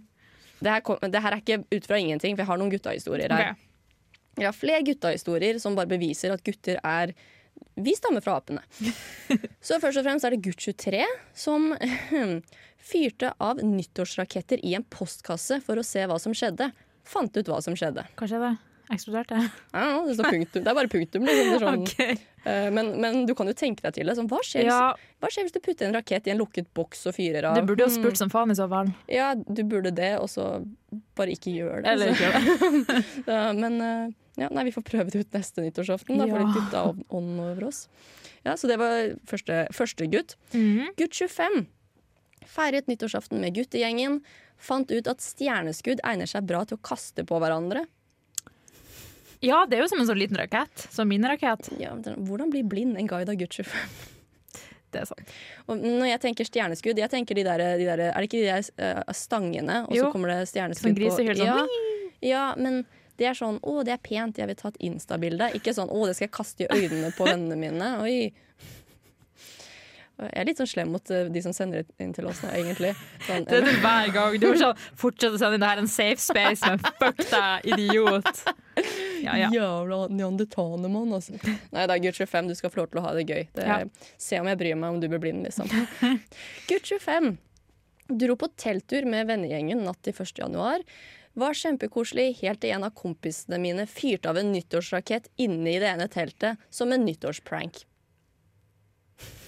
A: det her, kom, det her er ikke ut fra ingenting, for jeg har noen guttahistorier her.
B: Ok.
A: Jeg har flere guttahistorier som bare beviser at gutter er Vi stammer fra apene. Så først og fremst er det gutt 23 som fyrte av nyttårsraketter i en postkasse for å se hva som skjedde. Fant ut hva som skjedde.
B: Hva skjedde? Eksploderte?
A: I don't know, Det, står punktum. det er bare punktum. Liksom. Det er sånn.
B: Ok.
A: Eh, men, men du kan jo tenke deg til det. Sånn, hva, skjer hvis,
B: Ja,
A: hva skjer hvis du putter en rakett i en lukket boks og fyrer av? Mm.
B: du burde jo spurt som faen i så fall.
A: Ja, du burde det, og så bare ikke gjør det.
B: Eller
A: altså.
B: ikke.
A: Da, men eh, ja, nei, vi får prøve det ut neste nyttårsaften. Da
B: Ja.
A: får litt gutta ånd- ånden over oss. Ja, Så det var første, første gutt.
B: Mhm.
A: Gutt 25 feiret nyttårsaften med guttegjengen. Fant ut at stjerneskudd egner seg bra til å kaste på hverandre.
B: Ja, det er jo som en sånn liten rakett. Som minirakett.
A: Ja, hvordan blir blind en guide av gutt 25?
B: Det er sant.
A: Og når jeg tenker stjerneskudd, jeg tenker de der, de der Er det ikke de der eh, stangene, og
B: Jo.
A: så kommer det stjerneskudd
B: Sånn grisehyl, sånn,
A: på ja, ja, men det er sånn 'Å, det er pent, jeg vil ta et Insta-bilde'. Ikke sånn 'Å, det skal jeg kaste i øynene på vennene mine'. Oi. Jeg er litt sånn slem mot eh, de som sender inn til oss nå, egentlig. Sånn,
B: Det er det hver gang. Du må sånn fortsette å sende inn det her en safe space, men fuck deg, idiot. Ja, ja.
A: Jævla neandertanermann, altså. Nei, det er gutt 25, du skal få lov til å ha det gøy. Det,
B: Ja.
A: Se om jeg bryr meg om du blir blind, liksom. gutt 25 dro på telttur med vennegjengen natt til 1. januar. Var kjempekoselig helt til en av kompisene mine fyrte av en nyttårsrakett inne i det ene teltet som en nyttårsprank.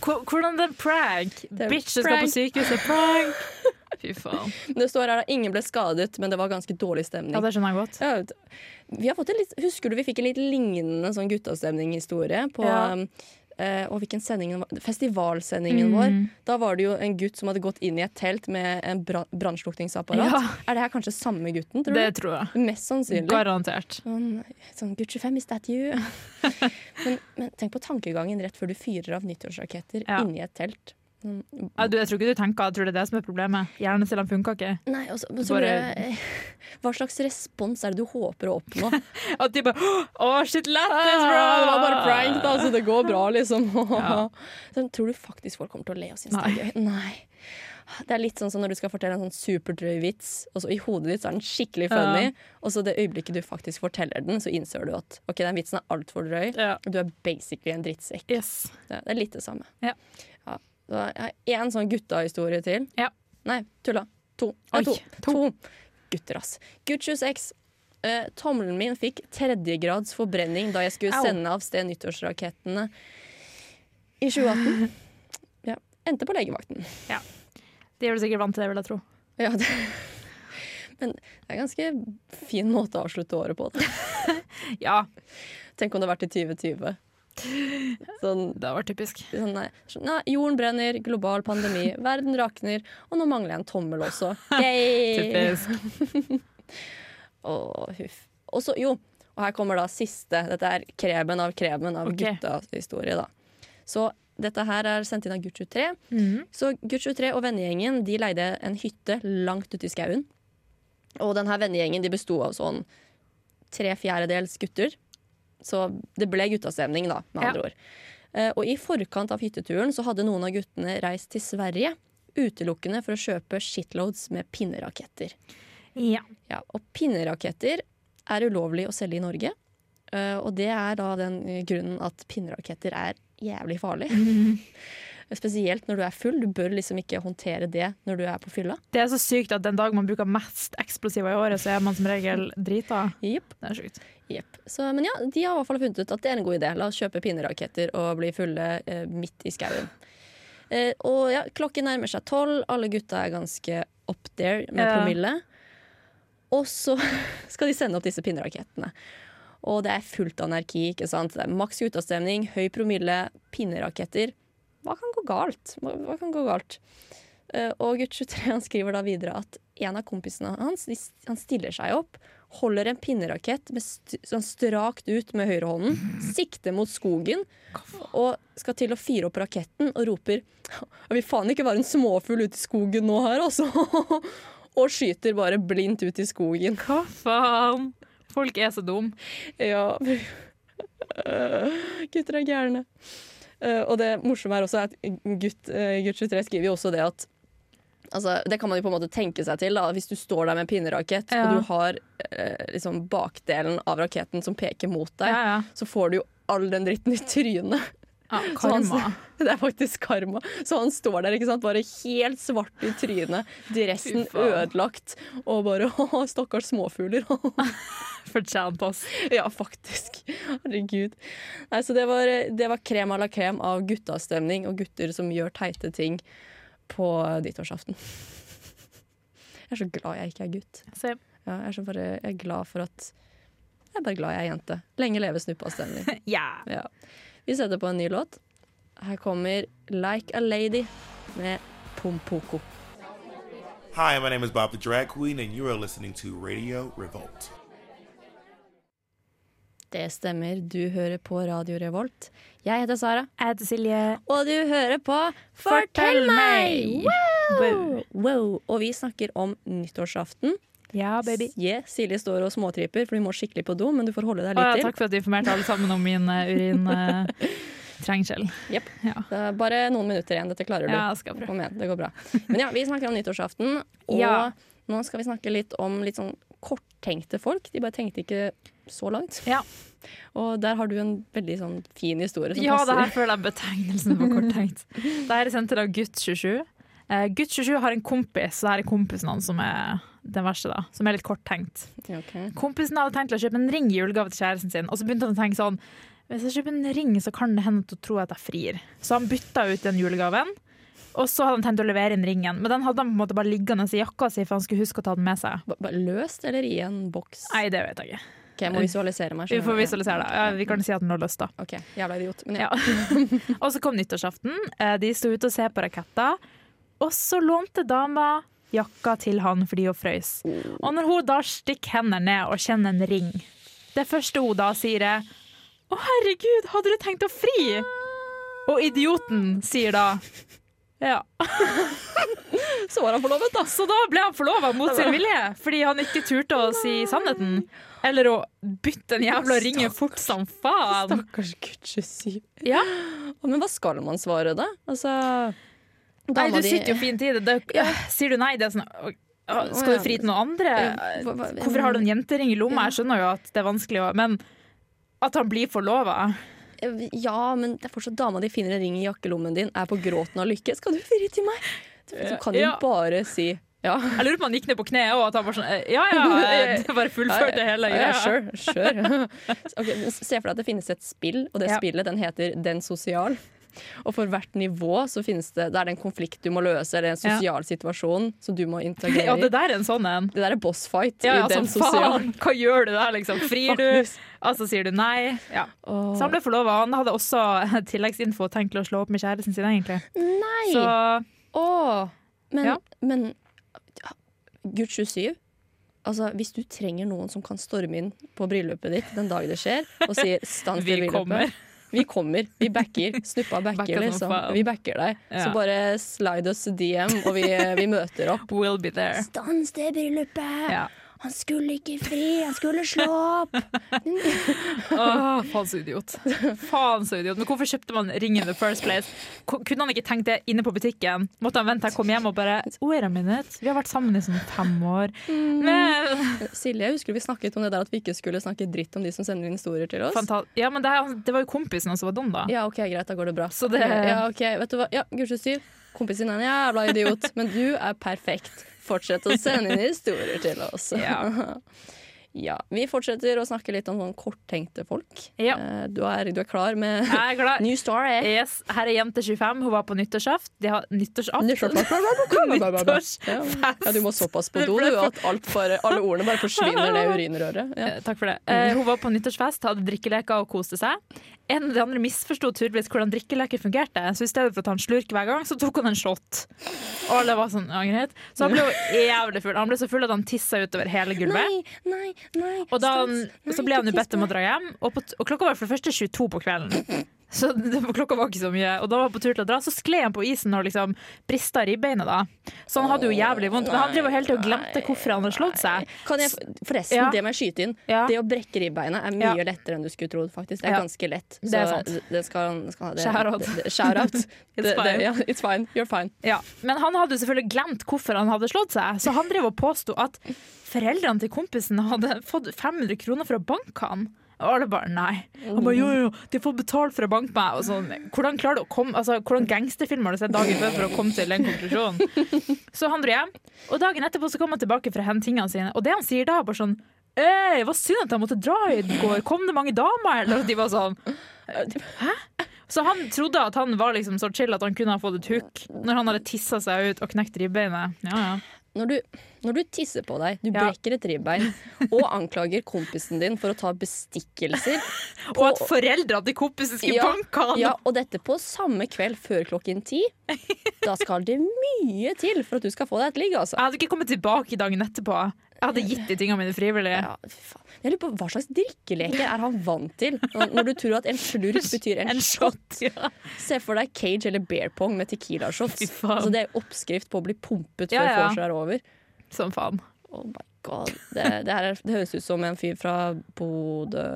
B: Hvor- Hvordan det er en prank?
A: er
B: Bitch, du
A: prank.
B: skal på sykehuset. Prank! Fy faen.
A: Det står her da, ingen ble skadet, men det var ganske dårlig stemning.
B: Ja, det skjønner jeg godt.
A: Ja, vet du. vi har fått en litt, husker du vi fikk en litt lignende sånn guttastemning-historie på
B: Ja. Mm.
A: eh, og hvilken sending det var? Festivalsendingen vår. Da var det jo en gutt som hadde gått inn i et telt med en bra- brannslukningsapparat.
B: Ja.
A: Er det her kanskje samme gutten, tror
B: Det
A: du?
B: tror jeg.
A: Mest sannsynlig.
B: Garantert.
A: Sånn, sånn Gutt 25, is that you? men, men tenk på tankegangen rett før du fyrer av nyttårsraketter
B: Ja.
A: inni et telt.
B: Ja, du, jeg tror ikke du tenker, jeg tror det er det som er problemet. Hjernecellene funker ikke.
A: Nei, og så, men så
B: Bare-
A: blir det- Hva slags respons er det du håper å oppnå?
B: At de bare Å, shit, lættis,
A: Ja,
B: bro!
A: Det var bare prank, da, så det går bra, liksom.
B: Ah. Ja.
A: Sånn, tror du faktisk folk kommer til å le og synes det er gøy? Nei. Det er litt sånn som når du skal fortelle en sånn superdrøy vits, og så i hodet ditt så er den skikkelig funny, og så det øyeblikket du faktisk forteller den, så innser du at OK, den vitsen er altfor drøy,
B: Ja.
A: og du er basically en drittsekk.
B: Yes.
A: Det det er litt det samme.
B: Ja.
A: Ja. Så jeg har én sånn gutta-historie til.
B: Ja.
A: Nei, tulla. To. Ja,
B: Oi,
A: to.
B: to.
A: to. Gutter, ass. Gutt 26. Eh, tommelen min fikk tredjegrads forbrenning da jeg skulle
B: Au.
A: sende av sted nyttårsrakettene i 2018. Ja. Endte på legevakten.
B: De er vel sikkert vant til det, vil jeg tro.
A: Ja, det. Men det er en ganske fin måte å avslutte året på. Da.
B: Ja,
A: Tenk om det har vært i 2020. Sånn,
B: det var typisk.
A: sånn, nei, sånn, nei, jorden brenner, global pandemi, verden rakner, og nå mangler jeg en tommel også. Yay!
B: Typisk.
A: Åh, huff. Og så, jo, og her kommer da siste. Dette er kremen av kremen av
B: Ok.
A: gutta-historie, da. Så dette her er sendt inn av Gutt 23.
B: Mhm.
A: Så Gutt 23 og vennegjengen de leide en hytte langt ute i skauen. Og denne vennegjengen de besto av sånn tre fjerdedels gutter. Så det ble guttastemning, da, med
B: Ja.
A: andre ord. Eh, Og i forkant av hytteturen så hadde noen av guttene reist til Sverige utelukkende for å kjøpe shitloads med pinneraketter.
B: Ja.
A: Ja, og pinneraketter er ulovlig å selge i Norge. Eh, og det er da den eh, grunnen at pinneraketter er jævlig farlig. Spesielt når du er full. Du bør liksom ikke håndtere det når du er på fylla.
B: Det er så sykt at den dag man bruker mest eksplosiver i året, så er man som regel drita.
A: Jepp.
B: Det er sjukt.
A: Jepp. Så, men ja, de har i hvert fall funnet ut at det er en god idé. La oss kjøpe pinneraketter og bli fulle eh, midt i skauen. Eh, og ja, klokken nærmer seg tolv. Alle gutta er ganske up there med
B: Ja.
A: promille. Og så skal de sende opp disse pinnerakettene. Og det er fullt anarki. ikke sant? Det er Maks guttastemning, høy promille, pinneraketter. hva kan gå galt? Hva, hva kan gå galt? Eh, og gutt 23 han skriver da videre at en av kompisene hans de, han stiller seg opp, holder en pinnerakett med st sånn strakt ut med høyrehånden, sikter mot skogen og skal til å fyre opp raketten og roper Jeg vil faen ikke være en småfugl ute i skogen nå her, altså! og skyter bare blindt ut i skogen.
B: Hva faen? Folk er så dum.
A: Ja Gutter er gærne. Eh, og det morsomme er også at gutt, eh, gutt 23 skriver jo også det at Altså, det kan man jo på en måte tenke seg til. Da. Hvis du står der med en pinnerakett
B: Ja.
A: og du har eh, liksom bakdelen av raketten som peker mot deg,
B: Ja, ja.
A: så får du jo all den dritten i trynet.
B: Ja, sånn
A: Så han-
B: karma.
A: Det er faktisk karma. Så han står der ikke sant? bare helt svart i trynet, dressen
B: Fy faen.
A: ødelagt, og bare Å, stakkars småfugler.
B: Fortjent oss.
A: ja, faktisk. Herregud. Nei, så det var, det var krem à la krem av guttastemning og gutter som gjør teite ting på nyttårsaften. Jeg er så glad jeg ikke er gutt.
B: Se,
A: Ja, jeg, er så bare, jeg er glad for at Jeg er bare glad jeg er jente. Lenge leve snuppastemning.
B: ja.
A: Ja. Vi setter på en ny låt. Her kommer 'Like a Lady' med Pompoko.
E: Hi, my name is Bob the Drag Queen, and you are listening to Radio Revolt.
A: Det stemmer, du hører på Radio Revolt. Jeg heter Sara,
B: Jeg heter Silje.
A: og du hører på Fortell meg! Wow! wow! Og vi snakker om nyttårsaften.
B: Ja, baby.
A: Yeah, Silje står og småtriper, for hun må skikkelig på do, men du får holde deg
B: Å, ja,
A: litt til.
B: takk for at du informerte alle sammen om min uh, urin... Uh, Trengsel.
A: Jepp.
B: Ja.
A: Det er bare noen minutter igjen, dette klarer du.
B: Ja, jeg skal prøve.
A: Kom igjen, det går bra. Men ja, vi snakker om nyttårsaften, og
B: Ja.
A: nå skal vi snakke litt om litt sånn korttenkte folk. De bare tenkte ikke så langt.
B: Ja.
A: Og der har du en veldig sånn fin historie som
B: ja, det her
A: passer.
B: føler jeg er betegnelsen på korttenkt. Det her er sendt til av gutt 27. Eh, gutt 27 har en kompis, så det her er kompisen hans som er den verste, da. Som er litt korttenkt.
A: Ja, ok.
B: Kompisen hadde tenkt til å kjøpe en ring i julegave til kjæresten sin, og så begynte han å tenke sånn Hvis jeg kjøper en ring, så kan det hende at hun tror at jeg frir. Så han bytta ut den julegaven, og så hadde han tenkt å levere inn ringen. Men den hadde han på en måte bare liggende i jakka si, for han skulle huske å ta den med seg.
A: Ba- ba- Løst eller i en boks?
B: Nei, det vet jeg ikke.
A: Ok, jeg må visualisere meg.
B: Vi
A: skjønner
B: får
A: du?
B: visualisere det. Ja, vi kan si at den har lyst, da.
A: Ok, jævla idiot. Men ja.
B: Ja. og så kom nyttårsaften. Eh, De sto ute og se på raketter. Og så lånte dama jakka til han fordi hun frøys. Og når hun da stikker hendene ned og kjenner en ring, det første hun da sier er Å, herregud, hadde du tenkt å fri? Og idioten sier da ja.
A: Så var han forlovet, da.
B: Så da ble han forlova mot sin vilje, fordi han ikke turte å si sannheten. Eller å bytte den jævla ringen fort som faen.
A: Stakkars gutt 27.
B: Ja.
A: Men hva skal man svare, da? Altså
B: Nei,
A: dama
B: du
A: di-
B: sitter jo fint i det. det Sier du nei, det er sånn «Å, å,
A: Å,
B: Skal
A: ja.
B: du fri til noen andre?
A: Ja, hva- hva-
B: Hvorfor har du en jentering i lomma? Jeg skjønner jo at det er vanskelig, å- men at han blir forlova
A: Ja, men det er fortsatt dama di finner en ring i jakkelommen din, er på gråten av lykke. Skal du fri til meg? Du, du kan jo
B: Eh, Ja.
A: bare si ja.
B: Jeg lurer på om han gikk ned på kne og at han var sånn Ja ja, eh, det bare fullførte hele
A: Ja,
B: greia.
A: ja, sure, sure. Ok, men se for deg at det finnes et spill, og det
B: Ja.
A: spillet den heter Den sosial. Og for hvert nivå så finnes det, det er det en konflikt du må løse, eller en sosial situasjon som du må interagere
B: Ja, det
A: i.
B: der er en sånn en.
A: Det der er boss fight
B: Ja,
A: i
B: ja,
A: Den
B: sånn,
A: sosial.
B: faen, hva gjør du der, liksom? Frir du?
A: Faktisk.
B: Altså sier du nei? Ja. Så han ble forlova. Han hadde også tilleggsinfo tenkt til å slå opp med kjæresten sin, egentlig.
A: Nei!
B: Så
A: Åh, men,
B: Ja.
A: men Gud 27 Altså, Hvis du trenger noen som kan storme inn på bryllupet ditt den dag det skjer, og sier 'stans til
B: Vi
A: bryllupet'
B: kommer.
A: Vi kommer. Vi backer. Snuppa backer,
B: Backer som
A: liksom.
B: faen.
A: Vi backer deg. Så
B: Ja.
A: bare slide oss DM, og vi, vi møter opp.
B: we'll be there.
A: Stans det bryllupet!
B: Ja.
A: Han skulle ikke fri, han skulle slå opp!
B: Åh, faen så idiot. Faen så idiot. Men hvorfor kjøpte man ring in the first place? Ko- Kunne han ikke tenkt det inne på butikken? Måtte han vente til jeg kom hjem og bare Wait a minute, vi har vært sammen i sånn fem år. Men,
A: Silje, jeg husker vi snakket om det der at vi ikke skulle snakke dritt om de som sender inn historier til oss.
B: fanta- ja, men det, er- det var jo kompisen hans som var dum, da.
A: Ja, ok, greit, da går det bra.
B: Så det-
A: Ja, ok, vet du hva? Ja, Gudskjelov syv. Kompisen din er en jævla idiot, men du er perfekt. Fortsett å sende inn historier til oss.
B: Ja.
A: Ja, Vi fortsetter å snakke litt om sånn korttenkte folk.
B: Ja.
A: Eh, Du, er, du er klar med
B: Jeg er glad.
A: New eh? Story?
B: Yes, her er jente 25, hun var på nyttårsaften. De har nyttårsaften.
A: Nyttårsfest. Ja. ja, du må såpass på do du, at alt bare, alle ordene bare forsvinner ned i urinrøret. Ja.
B: Eh, Takk for
A: Mm.
B: det. Eh, hun var på nyttårsfest, hadde drikkeleker og koste seg. En av de andre misforsto tydeligvis hvordan drikkeleker fungerte, så i stedet for å ta en slurk hver gang, så tok hun en shot. Og alle var sånn, ja greit. Så han ble jo jævlig full. Han ble så full at han tissa utover hele gulvet.
A: Nei, nei, nei.
B: Og da han,
A: stans. Nei,
B: så ble han jo
A: ikke
B: bedt
A: tiss
B: om å
A: på
B: dra hjem, og, på, t- og klokka var for det første 22 på kvelden. Så det, klokka var ikke så mye. Og da var han på tur til å dra, så skled han på isen og liksom brista ribbeina, da. Så han hadde jo jævlig vondt. Men han driver jo hele tida og glemte hvorfor han hadde slått seg.
A: meg. Kan jeg, forresten,
B: Ja.
A: det må jeg skyte inn.
B: Ja.
A: Det å brekke ribbeina er mye
B: Ja.
A: lettere enn du skulle trodd, faktisk. Det er
B: Ja.
A: ganske lett.
B: Det er
A: Så
B: sant.
A: det skal, skal ha det.
B: Shout out.
A: det- det- Shout out. Det- det-
B: fine.
A: ja, it's fine. You're fine.
B: Ja, Men han hadde jo selvfølgelig glemt hvorfor han hadde slått seg, så han drev og påsto at foreldrene til kompisen hadde fått 500 kroner for å banke han. Og alle bare nei. Han bare jo, jo, jo, de får betalt for å banke meg. Og sånn, hvordan klarer du å komme Altså, hvordan gangsterfilm har du sett dagen før for å komme til den konklusjonen? Så han dro hjem, og dagen etterpå så kom han tilbake for å hente tingene sine, og det han sier da, er bare sånn Øy, hva synd at jeg måtte dra i går. Kom det mange damer? Eller at de var sånn så han trodde at han var liksom så chill at han kunne ha fått et hook når han hadde tissa seg ut og knekt ribbeinet. Ja, ja.
A: Når du, når du tisser på deg, du
B: Ja.
A: brekker et ribbein og anklager kompisen din for å ta bestikkelser
B: Og at foreldra til kompisen skulle banke han!
A: ja, og dette på samme kveld før klokken ti, da skal det mye til for at du skal få deg et ligg, altså.
B: Jeg hadde ikke kommet tilbake dagen etterpå. Jeg hadde gitt de tingene mine frivillig.
A: Ja, fy faen. Jeg lurer på Hva slags drikkeleker er han vant til? Når du tror at en slurk betyr en,
B: En
A: shot.
B: shot. Ja.
A: Se for deg Cage eller Bear Pong med Tequila-shots.
B: Fy faen.
A: Altså, det er oppskrift på å bli pumpet før
B: Ja, ja.
A: vorset er over.
B: Som faen.
A: Oh my god. Det, det, her er, det høres ut som en fyr fra Bodø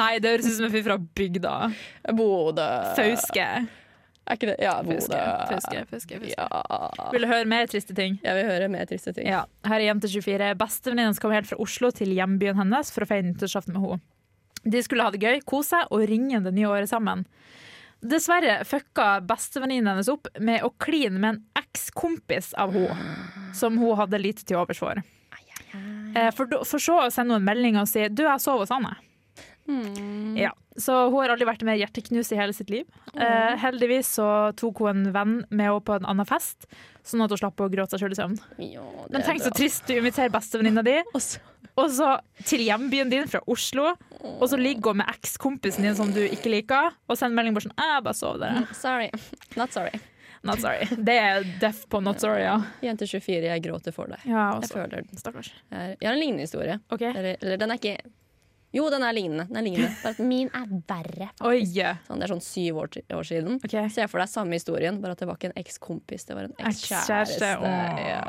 B: Nei, det høres ut som en fyr fra bygda.
A: Bodø
B: Fauske.
A: Er ikke det? Ja,
B: Fauske,
A: Bodø.
B: Fauske, Fauske. Fauske.
A: Ja.
B: Vil du høre mer triste ting?
A: Jeg vil høre mer triste ting.
B: Ja, her er jente 24. Bestevenninnen som kom helt fra Oslo til hjembyen hennes for å feire nyttårsaften med henne. De skulle ha det gøy, kose seg og ringe det nye året sammen. Dessverre fucka bestevenninnen hennes opp med å kline med en ekskompis av henne, som hun hadde lite til overs for. Eh, For, da- for så å sende henne en melding og si 'du, jeg sov hos Anne'. Ja, så hun har aldri vært mer hjerteknust i hele sitt liv. Eh, heldigvis så tok hun en venn med henne på en annen fest, sånn at hun slapp å gråte seg sjøl i søvn.
A: Ja, det
B: Men
A: er
B: tenk så
A: bra.
B: trist, du inviterer bestevenninna di,
A: Og så-
B: og så til hjembyen din fra Oslo, og så ligger hun med ekskompisen din som du ikke liker, og sender melding bare sånn «Eh, 'Jeg bare sov dere'.
A: Sorry. Not sorry.
B: Not sorry. Det er deaf på not sorry, ja.
A: Jente 24, jeg gråter for deg.
B: ja altså.
A: Jeg
B: også.
A: føler den.
B: Stakkars.
A: Jeg jeg har en lignende historie.
B: OK.
A: Eller, eller den er ikke Jo, den er lignende. Den er lignende. Bare at min er verre.
B: Oi.
A: Sånn, det er sånn syv år, ti- år siden.
B: OK.
A: Se for deg samme historien, bare at det var ikke en ekskompis, det var en
B: Ekskjæreste.
A: ekskjæreste.
B: Åh, det er
A: Ja.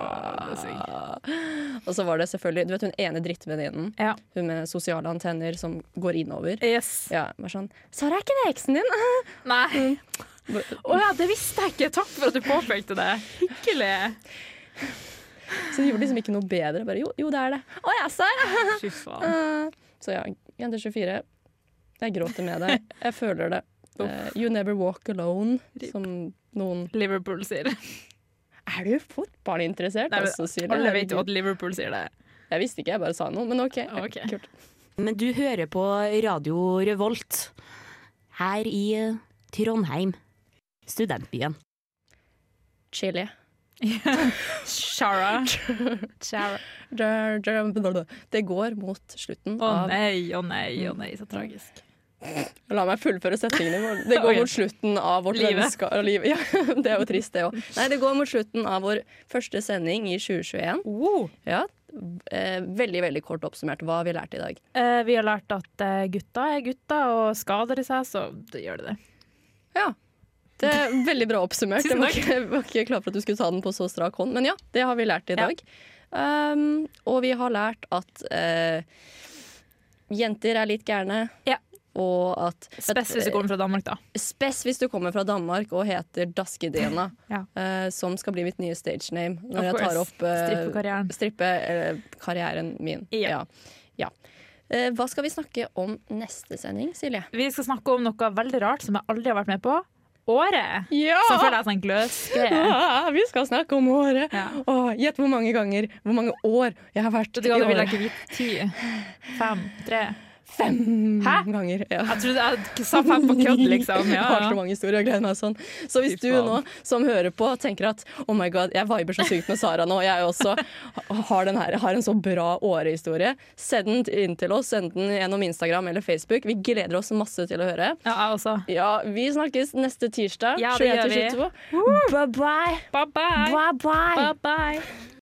A: Og så var det selvfølgelig Du vet hun ene drittvenninnen,
B: Ja.
A: hun med sosiale antenner som går innover.
B: Yes.
A: Ja, bare sånn 'Sara, er ikke det eksen din?'
B: Nei. Å ja, det visste jeg ikke. Takk for at du påpekte det. Hyggelig.
A: Så de gjorde liksom ikke noe bedre. Bare 'jo, jo det er det'. 'Å ja, serr'.
B: Fy faen.
A: Så ja, jenter 24. Jeg gråter med deg. Jeg føler det. Eh, you never walk alone, som noen
B: Liverpool sier det.
A: Er du fotballinteressert?
B: Nei, men
A: altså, Silje?
B: Alle vet jo
A: Herregud.
B: at Liverpool sier det.
A: Jeg visste ikke, jeg bare sa noe. Men OK.
B: Ah, Ok.
A: Kult.
G: Men du hører på Radio Revolt her i eh, Trondheim, studentbyen.
A: Chili.
B: Shara. Shara.
A: Det går mot slutten
B: Å
A: av
B: nei, å nei, å nei, så tragisk.
A: La meg fullføre setningen. vår. Det går
B: Ok.
A: mot slutten av vårt
B: Livet.
A: vennskap og liv. Ja, det er jo trist, det òg. Nei, det går mot slutten av vår første sending i 2021.
B: Oh.
A: Ja, eh, veldig, veldig kort oppsummert hva vi lærte i dag.
B: Eh, vi har lært at eh, gutta er gutta, og skader de seg, så det gjør de det.
A: Ja. Det er Veldig bra oppsummert. Jeg
B: Tusen
A: var
B: takk.
A: ikke, var ikke klar for at du skulle ta den på så strak hånd, men ja, det har vi lært i
B: Ja.
A: dag. Um, og vi har lært at eh, jenter er litt gærne,
B: Ja.
A: og at eh,
B: Spesielt hvis du kommer fra Danmark, da.
A: Spes hvis du kommer fra Danmark og heter Daskedena,
B: Ja.
A: eh, som skal bli mitt nye stage name når jeg
B: Of
A: tar
B: course.
A: opp eh,
B: Strippekarrieren.
A: strippekarrieren min.
B: Ja.
A: Ja. Eh, hva skal vi snakke om neste sending, Silje?
B: Vi skal snakke om noe veldig rart som jeg aldri har vært med på, året.
A: Ja!
B: Så føler jeg sånn gløsgreie.
A: Ah, vi skal snakke om året.
B: Ja.
A: Åh, Gjett hvor mange ganger, hvor mange år jeg har vært
B: Vet du
A: i
B: hva, du vil jeg
A: året.
B: ikke vite. Ti, fem, tre.
A: Fem
B: Hæ?
A: ganger. Ja.
B: Jeg trodde jeg sa fem på kødd, liksom.
A: Jeg har
B: Ja.
A: så mange historier, jeg gleder meg sånn. Så hvis
B: Fy
A: du
B: faen.
A: nå som hører på tenker at oh my god, jeg viber så sykt med Sara nå, jeg også har, den her, har en så bra årehistorie, send den inn til oss. Send den gjennom Instagram eller Facebook. Vi gleder oss masse til å høre.
B: Ja, jeg også.
A: Ja, vi snakkes neste tirsdag.
B: Ja, det
A: 21 til
B: gjør
A: 22. Bye bye.
B: Bye bye.
A: Bye bye.
B: Bye bye.